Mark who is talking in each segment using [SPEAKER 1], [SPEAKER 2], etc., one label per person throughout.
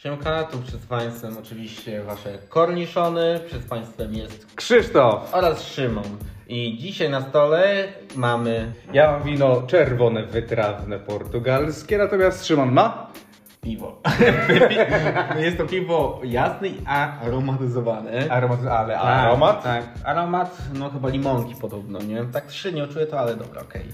[SPEAKER 1] Siemka, tu przed Państwem oczywiście Wasze korniszony, przed Państwem jest
[SPEAKER 2] Krzysztof!
[SPEAKER 1] oraz Szymon. I dzisiaj na stole mamy
[SPEAKER 2] Ja mam wino czerwone, wytrawne, portugalskie, natomiast Szymon ma?
[SPEAKER 1] piwo. jest to piwo jasne i aromatyzowane.
[SPEAKER 2] Aromat, ale
[SPEAKER 1] Tak,
[SPEAKER 2] aromat?
[SPEAKER 1] Tak, aromat, no chyba limonki podobno, nie wiem, tak średnio czuję to, ale dobra, okej.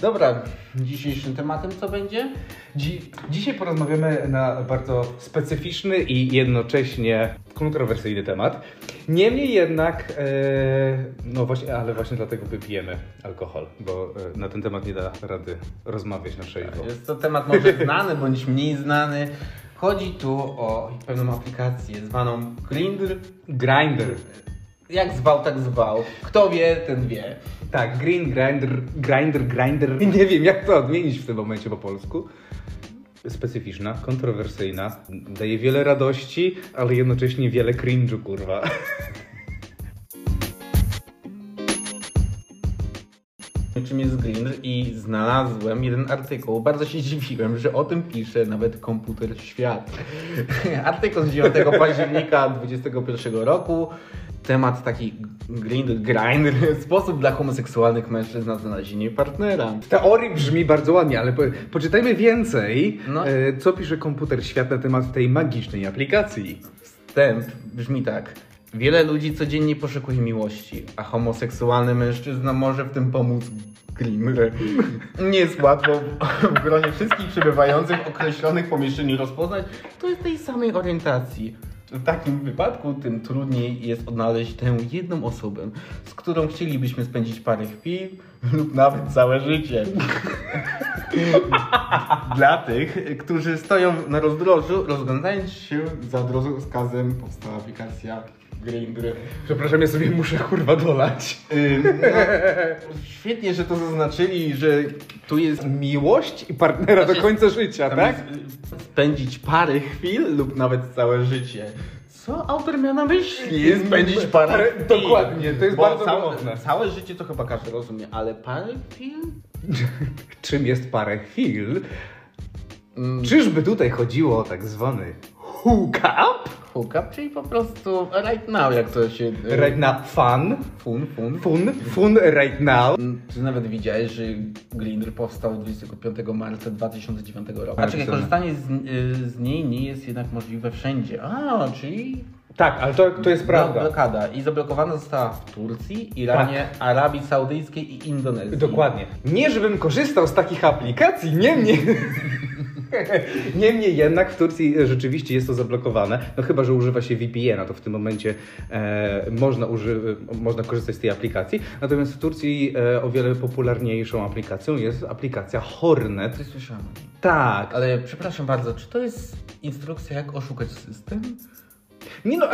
[SPEAKER 1] Dobra, dzisiejszym tematem co będzie?
[SPEAKER 2] Dzi- dzisiaj porozmawiamy na bardzo specyficzny i jednocześnie kontrowersyjny temat. Niemniej jednak, e, no właśnie, ale właśnie dlatego wypijemy alkohol, bo e, na ten temat nie da rady rozmawiać na trzeźwo.
[SPEAKER 1] Tak, Jest to temat może znany bądź mniej znany. Chodzi tu o pewną aplikację zwaną Grindr.
[SPEAKER 2] Grinder.
[SPEAKER 1] Jak zwał, tak zwał. Kto wie, ten wie.
[SPEAKER 2] Tak, green grinder, grinder, grinder. Nie wiem, jak to odmienić w tym momencie po polsku. Specyficzna, kontrowersyjna, daje wiele radości, ale jednocześnie wiele cringe'u, kurwa.
[SPEAKER 1] Czym jest Grindr i znalazłem jeden artykuł. Bardzo się dziwiłem, że o tym pisze nawet komputer świat. artykuł z 9 października 2021 roku. Temat taki Grindr, grind, sposób dla homoseksualnych mężczyzn na znalezienie partnera.
[SPEAKER 2] W teorii brzmi bardzo ładnie, ale po, poczytajmy więcej,
[SPEAKER 1] No.
[SPEAKER 2] e, co pisze komputer świat na temat tej magicznej aplikacji.
[SPEAKER 1] Wstęp brzmi tak. Wiele ludzi codziennie poszukuje miłości, a homoseksualny mężczyzna może w tym pomóc Grimr. Nie jest łatwo w- w gronie wszystkich przebywających w określonych pomieszczeniu rozpoznać, to jest tej samej orientacji. W takim wypadku tym trudniej jest odnaleźć tę jedną osobę, z którą chcielibyśmy spędzić parę chwil lub nawet całe życie. Dla tych, którzy stoją na rozdrożu, rozglądając się za drogowskazem, powstała aplikacja Grindr.
[SPEAKER 2] Przepraszam, ja sobie muszę kurwa dolać.
[SPEAKER 1] Ym, no, świetnie, że to zaznaczyli, że tu jest
[SPEAKER 2] Miłość i partnera do
[SPEAKER 1] Znaczy,
[SPEAKER 2] końca życia,
[SPEAKER 1] tam
[SPEAKER 2] tak?
[SPEAKER 1] jest, y, spędzić parę chwil lub nawet całe życie. Co autor miał na myśli?
[SPEAKER 2] Jest
[SPEAKER 1] Spędzić parę,
[SPEAKER 2] parę-
[SPEAKER 1] chwil.
[SPEAKER 2] dokładnie, to jest
[SPEAKER 1] Bo
[SPEAKER 2] bardzo
[SPEAKER 1] całe,
[SPEAKER 2] główne.
[SPEAKER 1] całe życie to chyba każdy rozumie, ale parę chwil?
[SPEAKER 2] Czym jest parę chwil?
[SPEAKER 1] Mm,
[SPEAKER 2] Czyżby tutaj chodziło o tak zwany hookup?
[SPEAKER 1] hookup, czyli po prostu right now, jak to się... y,
[SPEAKER 2] Right now, fun.
[SPEAKER 1] Fun, fun.
[SPEAKER 2] Fun, fun right now.
[SPEAKER 1] Mm, Czy nawet widziałeś, że Grindr powstał 25 marca 2009 roku? A czekaj,
[SPEAKER 2] Napisane.
[SPEAKER 1] korzystanie z, y, z niej nie jest jednak możliwe wszędzie. A, czyli...
[SPEAKER 2] Tak, ale to, to jest
[SPEAKER 1] Blo-
[SPEAKER 2] prawda. Tak.
[SPEAKER 1] Blokada. I zablokowana została w Turcji, Iranie, Arabii Saudyjskiej i Indonezji.
[SPEAKER 2] Dokładnie. Nie, żebym korzystał z takich aplikacji, niemniej. Niemniej jednak w Turcji rzeczywiście jest to zablokowane. No chyba, że używa się VPN-a, to w tym momencie e, można, uży- można korzystać z tej aplikacji. Natomiast w Turcji e, o wiele popularniejszą aplikacją jest aplikacja Hornet.
[SPEAKER 1] Coś słyszałem. o nim.
[SPEAKER 2] Tak.
[SPEAKER 1] Ale przepraszam bardzo, czy to jest instrukcja, jak oszukać system?
[SPEAKER 2] Nie no,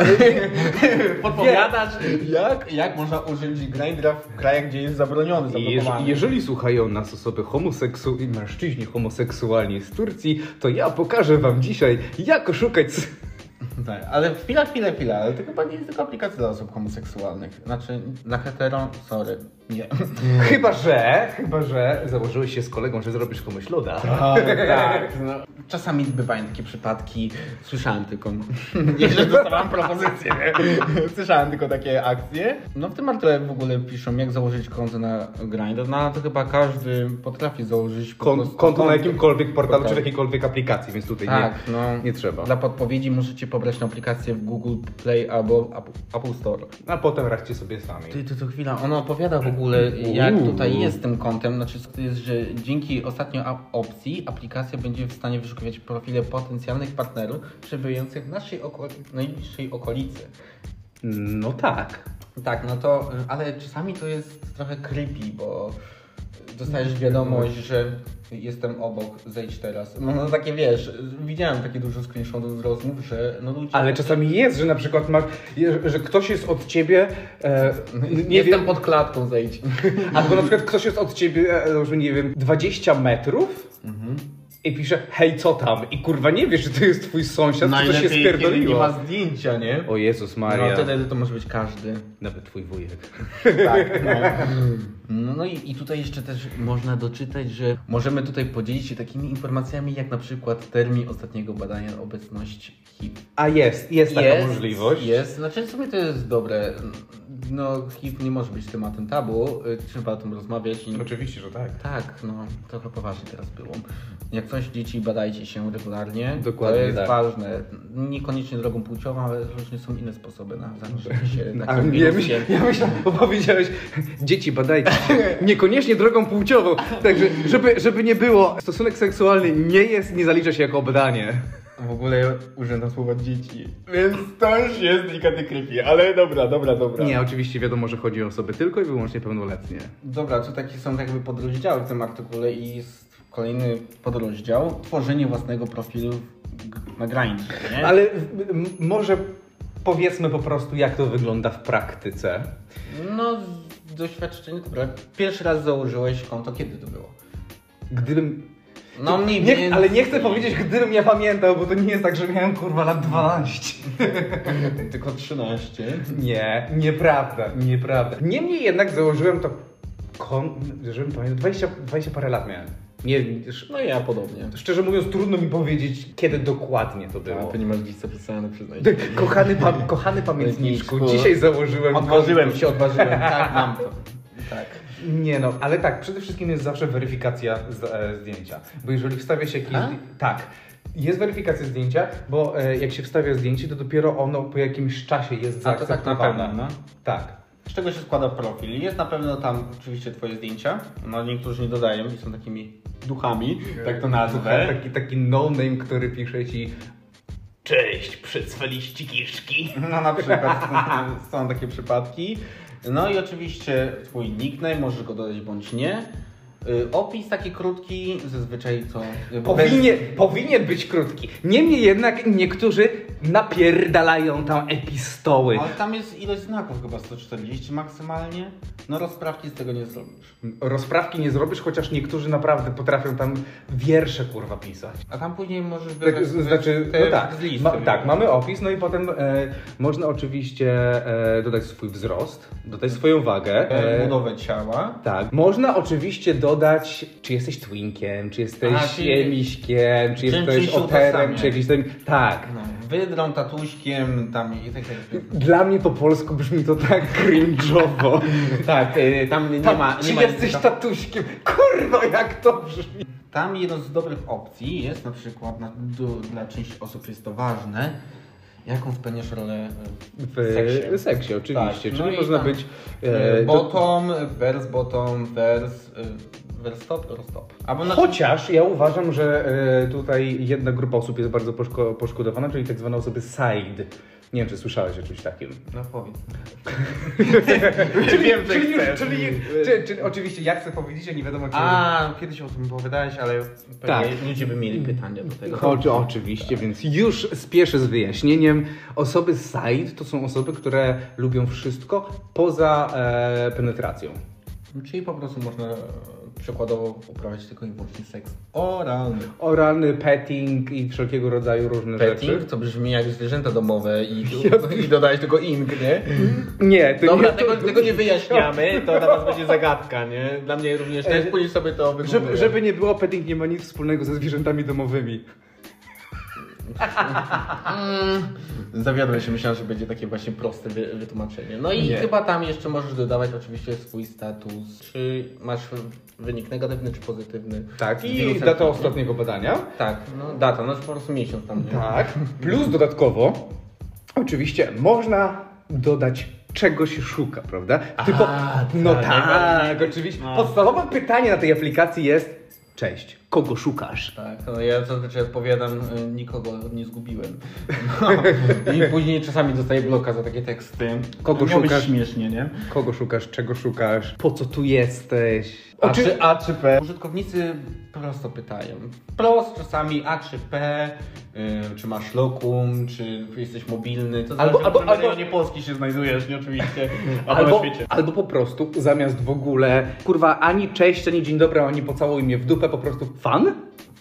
[SPEAKER 1] Podpowiadasz, jak, jak można użyć Grindra w krajach, gdzie jest zabroniony,
[SPEAKER 2] Jeżeli, jeżeli słuchają nas osoby homoseksu i mężczyźni homoseksualni z Turcji, to ja pokażę wam dzisiaj, jak oszukać. s-
[SPEAKER 1] Tak, ale chwila, chwila, chwila, ale to chyba nie jest tylko aplikacja dla osób homoseksualnych. Znaczy, dla hetero, sorry, nie.
[SPEAKER 2] Chyba, że, chyba, że założyłeś się z kolegą, że zrobisz komuś loda.
[SPEAKER 1] tak, no. Czasami bywają takie przypadki, słyszałem tylko, nie, że dostawałem propozycję, słyszałem tylko takie akcje. No w tym artykule w ogóle piszą, jak założyć konto na Grindr, no ale to chyba każdy potrafi założyć po
[SPEAKER 2] Kon,
[SPEAKER 1] prostu
[SPEAKER 2] konto na jakimkolwiek portalu
[SPEAKER 1] portalu.
[SPEAKER 2] czy w jakiejkolwiek aplikacji, więc tutaj
[SPEAKER 1] Tak,
[SPEAKER 2] nie,
[SPEAKER 1] no.
[SPEAKER 2] nie trzeba.
[SPEAKER 1] Dla podpowiedzi możecie pobrać tą aplikację w Google Play albo Apple- Apple Store.
[SPEAKER 2] A potem radźcie sobie sami.
[SPEAKER 1] Ty, ty, to chwila, ona opowiada w ogóle, jak
[SPEAKER 2] Uuu.
[SPEAKER 1] tutaj jest z tym kontem. Znaczy, to jest, że dzięki ostatniej ap- opcji aplikacja będzie w stanie wyszukiwać profile potencjalnych partnerów przebywających w naszej oko- najbliższej okolicy.
[SPEAKER 2] No tak.
[SPEAKER 1] Tak, no to, y, ale czasami to jest trochę creepy, bo dostajesz wiadomość, że jestem obok, zejdź teraz. No, no takie wiesz, y, widziałem takie dużo screenshotów z rozmów, że no ludzie...
[SPEAKER 2] Ale czasami jest, że na przykład masz, je- że ktoś jest od ciebie, e, n- nie
[SPEAKER 1] No jestem
[SPEAKER 2] wiem,
[SPEAKER 1] pod klatką, zejdź.
[SPEAKER 2] albo na przykład ktoś jest od ciebie, e, załóżmy, nie wiem, 20 metrów i pisze hej, co tam? I kurwa nie wiesz, czy to jest twój sąsiad, czy to się
[SPEAKER 1] Najlepiej, kiedy nie
[SPEAKER 2] spierdoliło.
[SPEAKER 1] ma zdjęcia, nie?
[SPEAKER 2] O Jezus Maria,
[SPEAKER 1] No wtedy to może być każdy.
[SPEAKER 2] nawet twój wujek.
[SPEAKER 1] Tak, no. No, no i, i tutaj jeszcze też można doczytać, że możemy tutaj podzielić się takimi informacjami, jak na przykład termin ostatniego badania obecności HIV.
[SPEAKER 2] A jest, jest taka możliwość.
[SPEAKER 1] Jest, znaczy w sumie to jest dobre. No HIV nie może być tematem tabu, y, trzeba o tym rozmawiać. I...
[SPEAKER 2] Oczywiście, że tak.
[SPEAKER 1] Tak, no trochę poważnie teraz było. Jak coś dzieci, badajcie się regularnie.
[SPEAKER 2] Dokładnie
[SPEAKER 1] To jest
[SPEAKER 2] tak.
[SPEAKER 1] ważne. Niekoniecznie drogą płciową, ale różnie są inne sposoby na zarażenie się.
[SPEAKER 2] A
[SPEAKER 1] takim
[SPEAKER 2] ja, myśl,
[SPEAKER 1] wirusem.
[SPEAKER 2] ja myślałem, bo powiedziałeś, dzieci badajcie się, niekoniecznie drogą płciową, także żeby, żeby nie było, stosunek seksualny nie jest, nie zalicza się jako badanie.
[SPEAKER 1] W ogóle ja używam słowa dzieci, więc to już jest delikatnie creepy, ale dobra, dobra, dobra.
[SPEAKER 2] Nie, oczywiście wiadomo, że chodzi o osoby tylko i wyłącznie pełnoletnie.
[SPEAKER 1] Dobra, tu takie są jakby podrozdziały w tym artykule i jest kolejny podrozdział, tworzenie własnego profilu g- na granicy, nie?
[SPEAKER 2] Ale m- może powiedzmy po prostu, jak to wygląda w praktyce.
[SPEAKER 1] No, z- doświadczenie, dobra, pierwszy raz założyłeś konto, kiedy to było?
[SPEAKER 2] Gdybym...
[SPEAKER 1] No mniej więcej...
[SPEAKER 2] Nie, ale nie chcę powiedzieć, gdybym ja pamiętał, bo to nie jest tak, że miałem kurwa lat 12.
[SPEAKER 1] tylko 13.
[SPEAKER 2] Nie, nieprawda, nieprawda. Niemniej jednak założyłem to kon... żebym pamiętał, 20, 20 parę lat miałem. Nie, sz-
[SPEAKER 1] No ja podobnie.
[SPEAKER 2] szczerze mówiąc trudno mi powiedzieć, kiedy dokładnie to było.
[SPEAKER 1] nie masz dziś zapisane, przyznaj.
[SPEAKER 2] Ty, Kochany, pa, kochany pamiętniczku,
[SPEAKER 1] Pamiętniczku.
[SPEAKER 2] dzisiaj założyłem...
[SPEAKER 1] Odważyłem
[SPEAKER 2] konto.
[SPEAKER 1] się, odważyłem, tak, mam to. Tak.
[SPEAKER 2] Nie no, ale tak, przede wszystkim jest zawsze weryfikacja z, e, zdjęcia. Bo jeżeli wstawia się jakieś.
[SPEAKER 1] A?
[SPEAKER 2] zdję- Tak. Jest weryfikacja zdjęcia, bo e, jak się wstawia zdjęcie, to dopiero ono po jakimś czasie jest
[SPEAKER 1] A to tak na
[SPEAKER 2] zaakceptowane.
[SPEAKER 1] pewno, no.
[SPEAKER 2] Tak.
[SPEAKER 1] Z czego się składa profil? Jest na pewno tam oczywiście twoje zdjęcia, no niektórzy nie dodają i są takimi duchami, tak to
[SPEAKER 2] Słuchaj,
[SPEAKER 1] nazwę.
[SPEAKER 2] Taki, taki no-name, który pisze ci Cześć, przycwaliście kiszki.
[SPEAKER 1] No na przykład są takie przypadki. No i oczywiście twój nickname, możesz go dodać bądź nie. Y, Opis taki krótki, zazwyczaj co...
[SPEAKER 2] Powinien, powinien być krótki. Niemniej jednak niektórzy napierdalają tam epistoły.
[SPEAKER 1] Ale tam jest ilość znaków chyba 140 maksymalnie. No rozprawki z tego nie zrobisz.
[SPEAKER 2] Rozprawki nie zrobisz, chociaż niektórzy naprawdę potrafią tam wiersze kurwa pisać.
[SPEAKER 1] A tam później możesz
[SPEAKER 2] Tak,
[SPEAKER 1] wybrać
[SPEAKER 2] z- znaczy,
[SPEAKER 1] te
[SPEAKER 2] no tak,
[SPEAKER 1] z listy.
[SPEAKER 2] ma, tak, mamy opis, no i potem e, można oczywiście e, dodać swój wzrost, dodać swoją wagę.
[SPEAKER 1] E,
[SPEAKER 2] E,
[SPEAKER 1] budowę ciała.
[SPEAKER 2] tak. Można oczywiście dodać, czy jesteś twinkiem, czy jesteś
[SPEAKER 1] A, czyli-
[SPEAKER 2] e, miśkiem, czy
[SPEAKER 1] Czym- czym
[SPEAKER 2] jesteś
[SPEAKER 1] się
[SPEAKER 2] oterem,
[SPEAKER 1] utożsamia.
[SPEAKER 2] czy jakimś tam. Tak.
[SPEAKER 1] No, wydrą, tatuśkiem, tam i tak dalej.
[SPEAKER 2] Dla mnie po polsku brzmi to tak cringe'owo.
[SPEAKER 1] Tak, y, tam nie
[SPEAKER 2] Ta-
[SPEAKER 1] ma. Nie
[SPEAKER 2] czy
[SPEAKER 1] ma
[SPEAKER 2] jesteś tatuśkiem? Kurwa, jak to brzmi.
[SPEAKER 1] Tam jedną z dobrych opcji jest na przykład na, do, dla części osób jest to ważne. Jaką spełniasz rolę y,
[SPEAKER 2] W seksie, oczywiście,
[SPEAKER 1] Tak,
[SPEAKER 2] czyli
[SPEAKER 1] no i
[SPEAKER 2] można
[SPEAKER 1] tam,
[SPEAKER 2] być...
[SPEAKER 1] e,
[SPEAKER 2] e, do-
[SPEAKER 1] bottom, vers bottom, vers, y, vers top, roll stop. Albo
[SPEAKER 2] znaczy-
[SPEAKER 1] na
[SPEAKER 2] Chociaż ja uważam, że e, tutaj jedna grupa osób jest bardzo poszko- poszkodowana, czyli tak zwane osoby side. Nie wiem, czy słyszałeś o czymś takim.
[SPEAKER 1] No powiedz.
[SPEAKER 2] czyli,
[SPEAKER 1] wiem, że
[SPEAKER 2] czyli, już,
[SPEAKER 1] chcesz.
[SPEAKER 2] czyli, czy, czy, oczywiście ja chcę powiedzieć, a nie wiadomo czy...
[SPEAKER 1] A, kiedyś o tym opowiadałeś, ale pewnie
[SPEAKER 2] Tak.
[SPEAKER 1] ludzie by mieli pytania do tego.
[SPEAKER 2] Chodzi, oczywiście, więc już spieszę z wyjaśnieniem. Osoby side to są osoby, które lubią wszystko poza e, penetracją.
[SPEAKER 1] Czyli po prostu można e, przykładowo uprawiać tylko i wyłącznie seks oralny.
[SPEAKER 2] Oralny, petting i wszelkiego rodzaju różne rzeczy.
[SPEAKER 1] Petting to brzmi jak zwierzęta domowe i, i dodałeś tylko ink, nie?
[SPEAKER 2] Nie, to
[SPEAKER 1] Dobra,
[SPEAKER 2] nie,
[SPEAKER 1] tego, tego nie wyjaśniamy, to dla was będzie zagadka, nie? Dla mnie również też, później sobie to
[SPEAKER 2] Żeby,
[SPEAKER 1] wygoogluję.
[SPEAKER 2] żeby nie było, petting nie ma nic wspólnego ze zwierzętami domowymi.
[SPEAKER 1] Zawiodłem się, myślałem, że będzie takie właśnie proste wy, wytłumaczenie. No i
[SPEAKER 2] Nie.
[SPEAKER 1] chyba tam jeszcze możesz dodawać oczywiście swój status, czy masz wynik negatywny czy pozytywny.
[SPEAKER 2] Tak,
[SPEAKER 1] Z
[SPEAKER 2] i
[SPEAKER 1] wirusem.
[SPEAKER 2] data ostatniego badania.
[SPEAKER 1] Tak, no data, no po prostu miesiąc tam. nie?
[SPEAKER 2] Tak. Plus dodatkowo, oczywiście, można dodać czego się szuka, prawda? Tylko,
[SPEAKER 1] tak,
[SPEAKER 2] no tak,
[SPEAKER 1] najważniejsze.
[SPEAKER 2] oczywiście.
[SPEAKER 1] No.
[SPEAKER 2] Podstawowe pytanie na tej aplikacji jest, cześć, kogo szukasz?
[SPEAKER 1] Tak, no ja zazwyczaj odpowiadam, y, nikogo nie zgubiłem. No. I później czasami dostaję bloka za takie teksty.
[SPEAKER 2] Kogo
[SPEAKER 1] To miało być
[SPEAKER 2] szukasz?
[SPEAKER 1] śmiesznie, nie?
[SPEAKER 2] Kogo szukasz, czego szukasz, po co tu jesteś?
[SPEAKER 1] A
[SPEAKER 2] Oczy-
[SPEAKER 1] czy A czy P? Użytkownicy prosto pytają. Prost czasami A czy P, y, czy masz lokum, czy jesteś mobilny. To
[SPEAKER 2] Albo-
[SPEAKER 1] zależy,
[SPEAKER 2] albo-
[SPEAKER 1] albo, albo,
[SPEAKER 2] albo-
[SPEAKER 1] regionie Polski się znajdujesz, nie oczywiście, albo,
[SPEAKER 2] Albo,
[SPEAKER 1] na świecie.
[SPEAKER 2] albo po prostu zamiast w ogóle, kurwa, ani cześć, ani dzień dobry, ani pocałuj mnie w dupę, po prostu fan?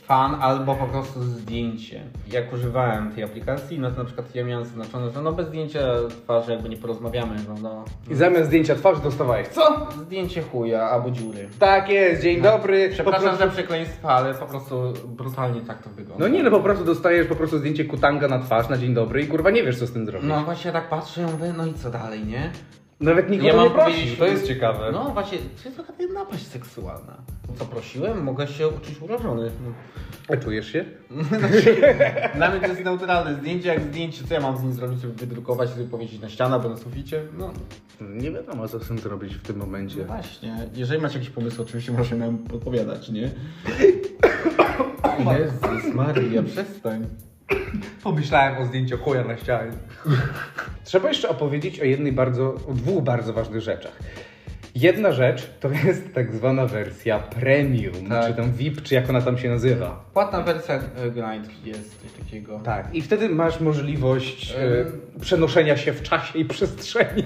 [SPEAKER 1] fan albo po prostu zdjęcie. Jak używałem tej aplikacji, no to na przykład ja miałem zaznaczone, że no bez zdjęcia twarzy jakby nie porozmawiamy, no, no
[SPEAKER 2] I zamiast zdjęcia twarzy dostawałeś co?
[SPEAKER 1] zdjęcie chuja albo dziury.
[SPEAKER 2] Tak jest, dzień dobry.
[SPEAKER 1] Przepraszam
[SPEAKER 2] po prostu...
[SPEAKER 1] za przekleństwa, ale po prostu brutalnie tak to wygląda.
[SPEAKER 2] No nie, no po prostu dostajesz po prostu zdjęcie kutanga na twarz na dzień dobry i kurwa nie wiesz co z tym zrobić.
[SPEAKER 1] No właśnie tak patrzę i mówię, no i co dalej, nie?
[SPEAKER 2] Nawet nikt o to nie prosił, to jest ciekawe.
[SPEAKER 1] No właśnie, to jest taka napaść seksualna. Co prosiłem? Mogę się uczuć urażony.
[SPEAKER 2] A czujesz się?
[SPEAKER 1] Znaczy, Dla mnie to jest neutralne zdjęcie jak zdjęcie, co ja mam z nim zrobić, żeby wydrukować, żeby powiesić na ścianę albo na suficie? No
[SPEAKER 2] Hmm, Nie wiadomo co z tym zrobić w tym momencie.
[SPEAKER 1] właśnie, jeżeli macie jakieś pomysły, oczywiście możecie nam podpowiadać, nie? Jezus Maria, przestań.
[SPEAKER 2] Pomyślałem o zdjęciu chuja na ścianie. Trzeba jeszcze opowiedzieć o jednej bardzo, o dwóch bardzo ważnych rzeczach. Jedna rzecz to jest tak zwana wersja premium,
[SPEAKER 1] Tak.
[SPEAKER 2] czy tam VIP, czy jak ona tam się nazywa.
[SPEAKER 1] Płatna wersja e, grind jest coś takiego.
[SPEAKER 2] Tak, i wtedy masz możliwość e,
[SPEAKER 1] Ym.
[SPEAKER 2] przenoszenia się w czasie i przestrzeni.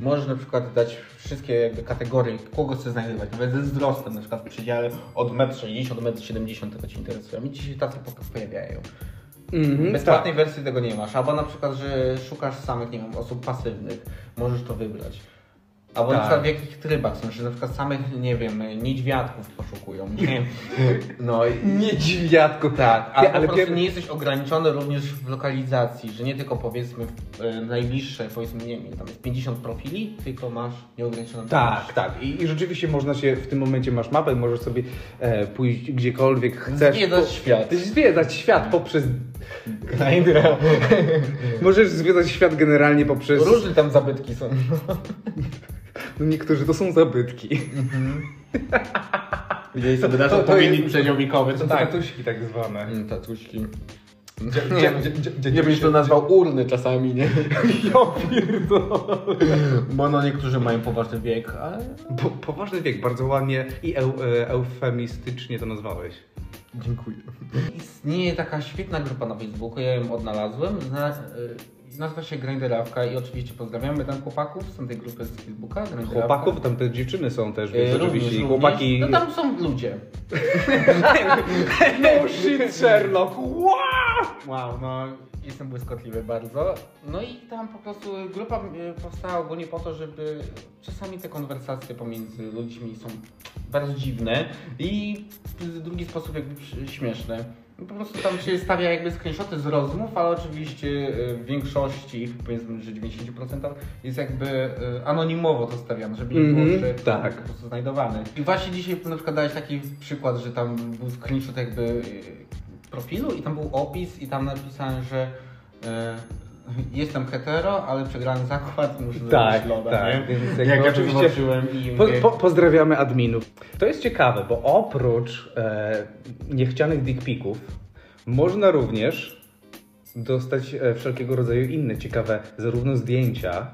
[SPEAKER 1] Możesz na przykład dać wszystkie jakby kategorie, kogo chcesz znajdować, nawet ze wzrostem, na przykład w przedziale od 1,60 m do 1,70 m, tego Cię interesuje. Mi dzisiaj tacy po- pojawiają.
[SPEAKER 2] Mhm,
[SPEAKER 1] Bezpłatnej wersji tego nie masz, albo na przykład, że szukasz samych, nie wiem, osób pasywnych, możesz to wybrać. Albo na
[SPEAKER 2] Tak.
[SPEAKER 1] przykład w jakich trybach są, że na przykład samych, nie wiem, niedźwiadków poszukują, nie wiem. No i...
[SPEAKER 2] Nie dziwiatku,
[SPEAKER 1] Tak, a
[SPEAKER 2] Ty,
[SPEAKER 1] po
[SPEAKER 2] ale
[SPEAKER 1] prostu
[SPEAKER 2] pier-
[SPEAKER 1] nie jesteś ograniczony również w lokalizacji, że nie tylko powiedzmy w, e, najbliższe, powiedzmy, nie wiem, tam jest 50 profili, tylko masz nieograniczoną
[SPEAKER 2] Tak, tak. I, I rzeczywiście można się, w tym momencie masz mapę, możesz sobie e, pójść gdziekolwiek chcesz.
[SPEAKER 1] Chcesz Zwiedzać świat.
[SPEAKER 2] Zwiedzać świat poprzez...
[SPEAKER 1] Grindr.
[SPEAKER 2] Możesz zwiedzać świat generalnie poprzez...
[SPEAKER 1] Różne tam zabytki są.
[SPEAKER 2] No niektórzy to są zabytki.
[SPEAKER 1] Mhm. Widzieli sobie
[SPEAKER 2] nasz odpowiednik
[SPEAKER 1] przedział wiekowy,
[SPEAKER 2] tatuśki tak zwane.
[SPEAKER 1] Mm, Tatuśki.
[SPEAKER 2] Nie, nie, nie,
[SPEAKER 1] Nie byś to nazwał urny czasami, nie?
[SPEAKER 2] Ja pierdolę.
[SPEAKER 1] Bo no niektórzy mają poważny wiek, ale...
[SPEAKER 2] Po, poważny wiek, bardzo ładnie i eu, e, eufemistycznie to nazwałeś.
[SPEAKER 1] Dziękuję. Istnieje taka świetna grupa na Facebooku, ja ją odnalazłem. Zna, y, nazywa się Grinderawka i oczywiście pozdrawiamy tam chłopaków z tej grupy z Facebooka. Grinderawka.
[SPEAKER 2] Chłopaków, tam te dziewczyny są też,
[SPEAKER 1] Y,
[SPEAKER 2] więc
[SPEAKER 1] również,
[SPEAKER 2] oczywiście i
[SPEAKER 1] również.
[SPEAKER 2] chłopaki...
[SPEAKER 1] No tam są ludzie.
[SPEAKER 2] no shit, Sherlock, wow!
[SPEAKER 1] Wow, no jestem błyskotliwy bardzo. No i tam po prostu grupa y, powstała ogólnie po to, żeby czasami te konwersacje pomiędzy ludźmi są bardzo dziwne i w drugi sposób jakby przy- śmieszne. No Po prostu tam się stawia jakby screenshoty z rozmów, ale oczywiście y, w większości, powiedzmy, że 90% jest jakby y, anonimowo to stawiane, żeby nie było,
[SPEAKER 2] Mhm,
[SPEAKER 1] że
[SPEAKER 2] tak.
[SPEAKER 1] po prostu znajdowany. I właśnie dzisiaj na przykład dałeś taki przykład, że tam był screenshot jakby yy, profilu i tam był opis i tam napisałem, że yy, jestem hetero, ale przegrany zakład i muszę
[SPEAKER 2] Tak,
[SPEAKER 1] zrobić loda.
[SPEAKER 2] tak.
[SPEAKER 1] nie?
[SPEAKER 2] Więc
[SPEAKER 1] Jak,
[SPEAKER 2] jakby
[SPEAKER 1] ja
[SPEAKER 2] oczywiście-
[SPEAKER 1] oczywiście... zobaczyłem i
[SPEAKER 2] Po,
[SPEAKER 1] mówię,
[SPEAKER 2] po, pozdrawiamy adminów. To jest ciekawe, bo oprócz e, niechcianych dickpików można również dostać e, wszelkiego rodzaju inne ciekawe zarówno zdjęcia,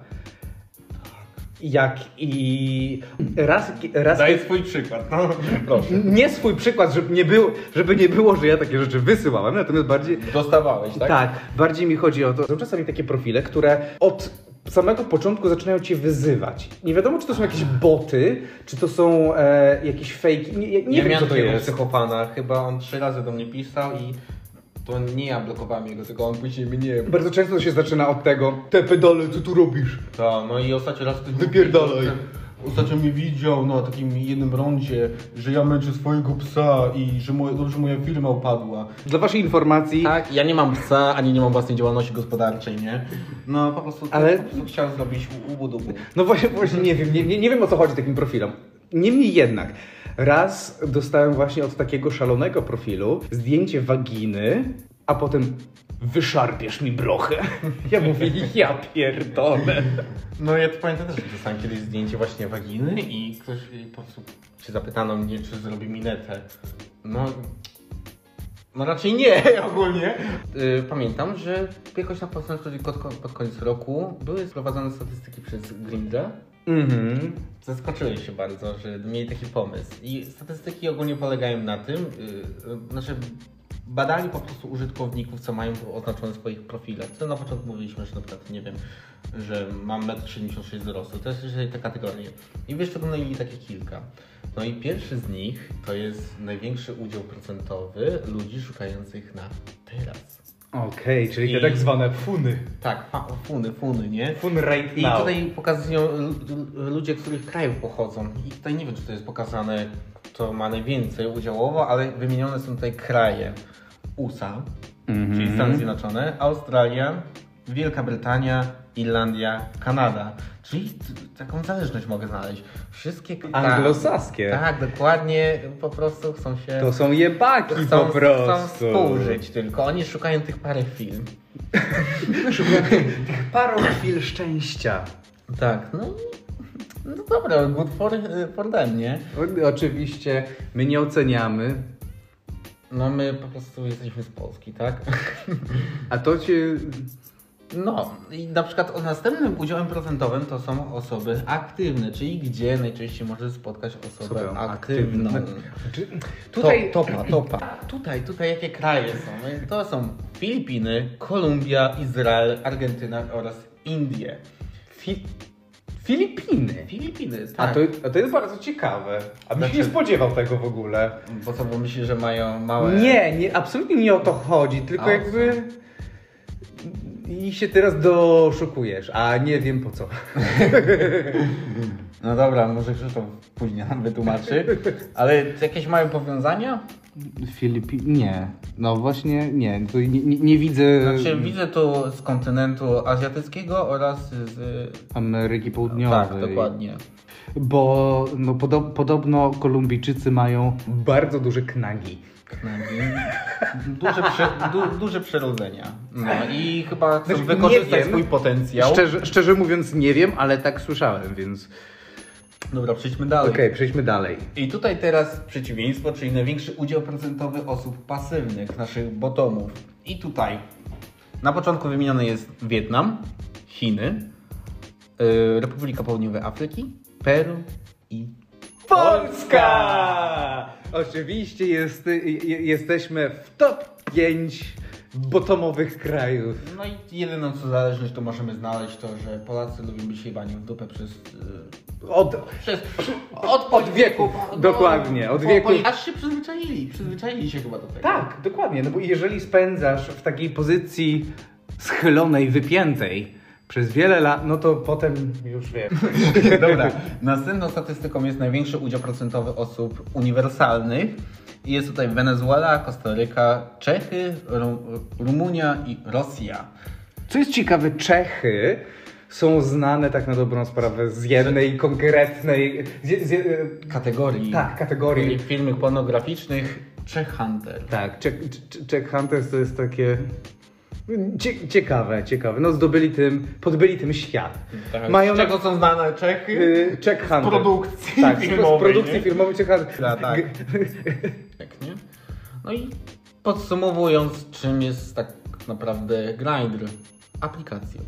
[SPEAKER 2] jak i raz, raz
[SPEAKER 1] Daj swój przykład, no proszę.
[SPEAKER 2] nie swój przykład, żeby nie, było, żeby nie było, że ja takie rzeczy wysyłałem, natomiast bardziej
[SPEAKER 1] Dostawałeś, tak?
[SPEAKER 2] tak? bardziej mi chodzi o to. Są czasami takie profile, które od samego początku zaczynają cię wyzywać. Nie wiadomo, czy to są jakieś boty, czy to są e, jakieś fake. Nie, nie, nie
[SPEAKER 1] ja
[SPEAKER 2] wiem,
[SPEAKER 1] miałem
[SPEAKER 2] co to
[SPEAKER 1] takiego
[SPEAKER 2] jest.
[SPEAKER 1] psychopana, chyba on trzy razy do mnie pisał i to nie ja blokowałem jego, tylko on później mnie.
[SPEAKER 2] Bardzo często to się zaczyna od tego, te pedale, co tu robisz?
[SPEAKER 1] To, no i ostatni raz ty
[SPEAKER 2] Wypierdalaj.
[SPEAKER 1] Ostatnio mi widział na takim jednym rondzie, że ja męczę swojego psa i że moje, dobrze moja firma upadła.
[SPEAKER 2] Dla waszej informacji,
[SPEAKER 1] Tak, ja nie mam psa, ani nie mam własnej działalności gospodarczej, nie? No po prostu,
[SPEAKER 2] Ale-
[SPEAKER 1] Ale... po prostu chciałem zrobić u- ubudubu.
[SPEAKER 2] no właśnie, właśnie nie wiem, nie, nie, nie wiem o co chodzi takim profilom. Niemniej jednak, raz dostałem właśnie od takiego szalonego profilu zdjęcie waginy, a potem wyszarpiesz mi brochę. Ja mówię, ja pierdolę.
[SPEAKER 1] No ja to pamiętam też, że dostałem kiedyś zdjęcie właśnie waginy i ktoś i po prostu się zapytano mnie, czy zrobi minetę. No, no raczej nie ogólnie. Y, Pamiętam, że jakoś na początku, pod, pod koniec roku były prowadzone statystyki przez Grindra.
[SPEAKER 2] Mhm.
[SPEAKER 1] Zaskoczyłem się bardzo, że mieli taki pomysł. I statystyki ogólnie polegają na tym, yy, y, znaczy badali po prostu użytkowników, co mają oznaczone w swoich profilach. Co na początku mówiliśmy, że na przykład, nie wiem, że mam 1,76 m wzrostu. To jest jeżeli te kategorie. I wyszczególnili takie kilka. No i pierwszy z nich to jest największy udział procentowy ludzi szukających na teraz.
[SPEAKER 2] Okej, czyli te
[SPEAKER 1] I-
[SPEAKER 2] tak zwane funy.
[SPEAKER 1] Tak, fa- funy, funy, nie?
[SPEAKER 2] Fun right
[SPEAKER 1] I
[SPEAKER 2] now.
[SPEAKER 1] tutaj pokazują l- l- ludzie, z których krajów pochodzą. I tutaj nie wiem, czy to jest pokazane, to ma najwięcej udziałowo, ale wymienione są tutaj kraje. USA,
[SPEAKER 2] Mhm.
[SPEAKER 1] czyli Stany Zjednoczone, Australia, Wielka Brytania, Irlandia, Kanada. Czyli t- taką zależność mogę znaleźć. Wszystkie kraje.
[SPEAKER 2] Anglosaskie.
[SPEAKER 1] Tak, dokładnie, po prostu chcą się.
[SPEAKER 2] To są jebaki
[SPEAKER 1] Chcą,
[SPEAKER 2] po prostu.
[SPEAKER 1] chcą współżyć tylko. Oni szukają tych parę film.
[SPEAKER 2] Parą chwil szczęścia.
[SPEAKER 1] Tak, no i. No dobra, good for, y, for them, nie?
[SPEAKER 2] O- Oczywiście my nie oceniamy,
[SPEAKER 1] No my po prostu jesteśmy z Polski, tak?
[SPEAKER 2] a to cię...
[SPEAKER 1] No i na przykład o następnym udziałem procentowym to są osoby aktywne, czyli gdzie najczęściej możesz spotkać osobę
[SPEAKER 2] Osobę
[SPEAKER 1] aktywną.
[SPEAKER 2] aktywną. Czy-
[SPEAKER 1] Tutaj...
[SPEAKER 2] Znaczy, Tutaj
[SPEAKER 1] To, topa, topa. Tutaj, tutaj jakie kraje są? No To są Filipiny, Kolumbia, Izrael, Argentyna oraz Indie.
[SPEAKER 2] Fi... Filipiny.
[SPEAKER 1] Filipiny, tak.
[SPEAKER 2] A to, a to jest bardzo ciekawe. A bym się nie
[SPEAKER 1] Znaczy-
[SPEAKER 2] spodziewał tego w ogóle.
[SPEAKER 1] Bo co, bo myślisz, że mają małe...
[SPEAKER 2] Nie, nie, absolutnie nie o to chodzi, tylko
[SPEAKER 1] A o co?
[SPEAKER 2] jakby... I się teraz doszukujesz, a nie wiem po co.
[SPEAKER 1] No dobra, może Krzysztof później nam wytłumaczy. Ale jakieś mają powiązania?
[SPEAKER 2] Filipin... Nie. No właśnie, nie. Tu nie, nie, nie widzę
[SPEAKER 1] Znaczy, widzę tu z kontynentu azjatyckiego oraz z.
[SPEAKER 2] Ameryki Południowej.
[SPEAKER 1] Tak, dokładnie.
[SPEAKER 2] Bo no, podo- podobno Kolumbijczycy mają bardzo duże knagi.
[SPEAKER 1] Knagi. Duże, prze, du, duże przyrodzenia. No i chyba chcą
[SPEAKER 2] Znaczy, nie
[SPEAKER 1] wykorzystać
[SPEAKER 2] wiem.
[SPEAKER 1] swój potencjał.
[SPEAKER 2] Szczerze, szczerze mówiąc nie wiem, ale tak słyszałem, więc...
[SPEAKER 1] Dobra, przejdźmy dalej.
[SPEAKER 2] Okej, przejdźmy dalej.
[SPEAKER 1] I tutaj teraz przeciwieństwo, czyli największy udział procentowy osób pasywnych, naszych bottomów. I tutaj na początku wymieniony jest Wietnam, Chiny, yy, Republika Południowej Afryki, Peru i
[SPEAKER 2] Polska! Oczywiście jest, je, jesteśmy w top 5 botomowych krajów.
[SPEAKER 1] No i jedyną co zależność to możemy znaleźć to, że Polacy lubią być jebani w dupę przez... y,
[SPEAKER 2] Od,
[SPEAKER 1] przez od,
[SPEAKER 2] od wieków, dokładnie, od
[SPEAKER 1] po-
[SPEAKER 2] wieków.
[SPEAKER 1] po- Aż się przyzwyczaili, przyzwyczaili się chyba do tego.
[SPEAKER 2] Tak, dokładnie, no bo jeżeli spędzasz w takiej pozycji schylonej, wypiętej przez wiele lat, no to potem już wiem.
[SPEAKER 1] Dobra, następną statystyką jest największy udział procentowy osób uniwersalnych. I Jest tutaj Wenezuela, Kostaryka, Czechy, Ru- Rumunia i Rosja.
[SPEAKER 2] Co jest ciekawe, Czechy są znane tak na dobrą sprawę z jednej konkretnej... Z, je- z, je-
[SPEAKER 1] Kategorii.
[SPEAKER 2] tak, kategorii.
[SPEAKER 1] Czyli filmów pornograficznych Czech Hunter.
[SPEAKER 2] Tak, Czech, Czech- Czech Hunters to jest takie cie, ciekawe, ciekawe. No zdobyli tym, podbyli tym świat.
[SPEAKER 1] Tak.
[SPEAKER 2] Mają
[SPEAKER 1] Z
[SPEAKER 2] na-
[SPEAKER 1] czego są znane Czechy?
[SPEAKER 2] y, Czech Hunters.
[SPEAKER 1] produkcji
[SPEAKER 2] tak, z-
[SPEAKER 1] filmowej,
[SPEAKER 2] z produkcji
[SPEAKER 1] nie?
[SPEAKER 2] filmowej Czech Hunters.
[SPEAKER 1] Ja, tak. Tak, nie? No i podsumowując, czym jest tak naprawdę Grindr? Aplikacją.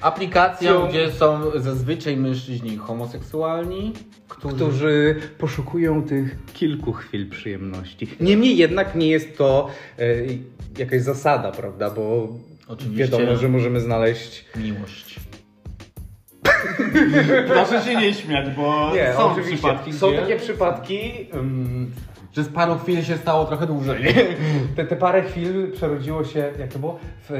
[SPEAKER 1] Aplikacją,
[SPEAKER 2] Są-
[SPEAKER 1] gdzie są zazwyczaj mężczyźni homoseksualni, którzy...
[SPEAKER 2] Którzy poszukują tych kilku chwil przyjemności. Niemniej jednak nie jest to y, jakaś zasada, prawda? Bo
[SPEAKER 1] Oczywiście.
[SPEAKER 2] wiadomo, że możemy znaleźć
[SPEAKER 1] Miłość. Proszę się nie śmiać, bo
[SPEAKER 2] Są takie przypadki. mm, ym,
[SPEAKER 1] że z paru chwil się stało trochę dłużej.
[SPEAKER 2] te, te parę chwil przerodziło się, jak to było, w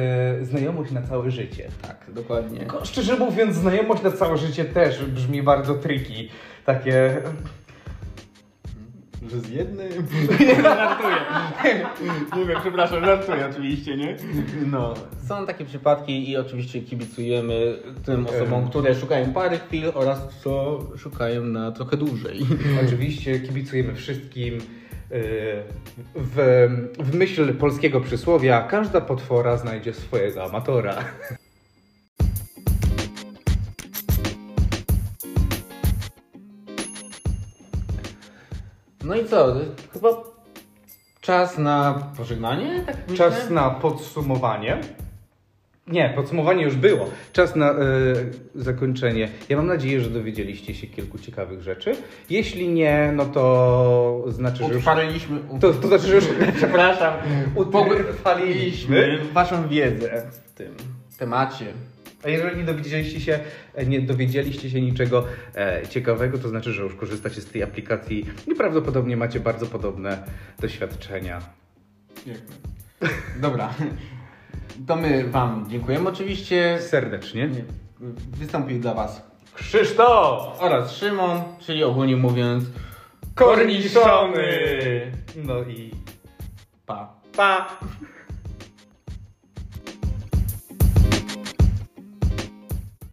[SPEAKER 2] e, znajomość na całe życie.
[SPEAKER 1] tak, dokładnie.
[SPEAKER 2] Tylko szczerze mówiąc, znajomość na całe życie też brzmi bardzo triki. Takie.
[SPEAKER 1] Że z jednym. żartuję. nie wiem, przepraszam, żartuję oczywiście, nie? No. Są takie przypadki i oczywiście kibicujemy tym osobom, które szukają pary chwil oraz co szukają na trochę dłużej.
[SPEAKER 2] Oczywiście kibicujemy wszystkim. e, W, w myśl polskiego przysłowia każda potwora znajdzie swojego amatora.
[SPEAKER 1] No i co? Chyba czas na pożegnanie? Tak myślę?
[SPEAKER 2] Czas na podsumowanie. Nie, podsumowanie już było. Czas na e, zakończenie. Ja mam nadzieję, że dowiedzieliście się kilku ciekawych rzeczy. Jeśli nie, no to znaczy, że już...
[SPEAKER 1] Utrwaliliśmy...
[SPEAKER 2] To, to znaczy, że już...
[SPEAKER 1] Przepraszam.
[SPEAKER 2] Utrwaliliśmy.
[SPEAKER 1] waszą wiedzę w tym temacie.
[SPEAKER 2] A jeżeli nie dowiedzieliście się, nie dowiedzieliście się niczego e, ciekawego, to znaczy, że już korzystacie z tej aplikacji i prawdopodobnie macie bardzo podobne doświadczenia.
[SPEAKER 1] Dobra. To my wam dziękujemy oczywiście.
[SPEAKER 2] Serdecznie.
[SPEAKER 1] Nie, Wystąpił dla was
[SPEAKER 2] Krzysztof!
[SPEAKER 1] oraz Szymon, czyli ogólnie mówiąc
[SPEAKER 2] Korniszony! No i
[SPEAKER 1] pa.
[SPEAKER 2] pa!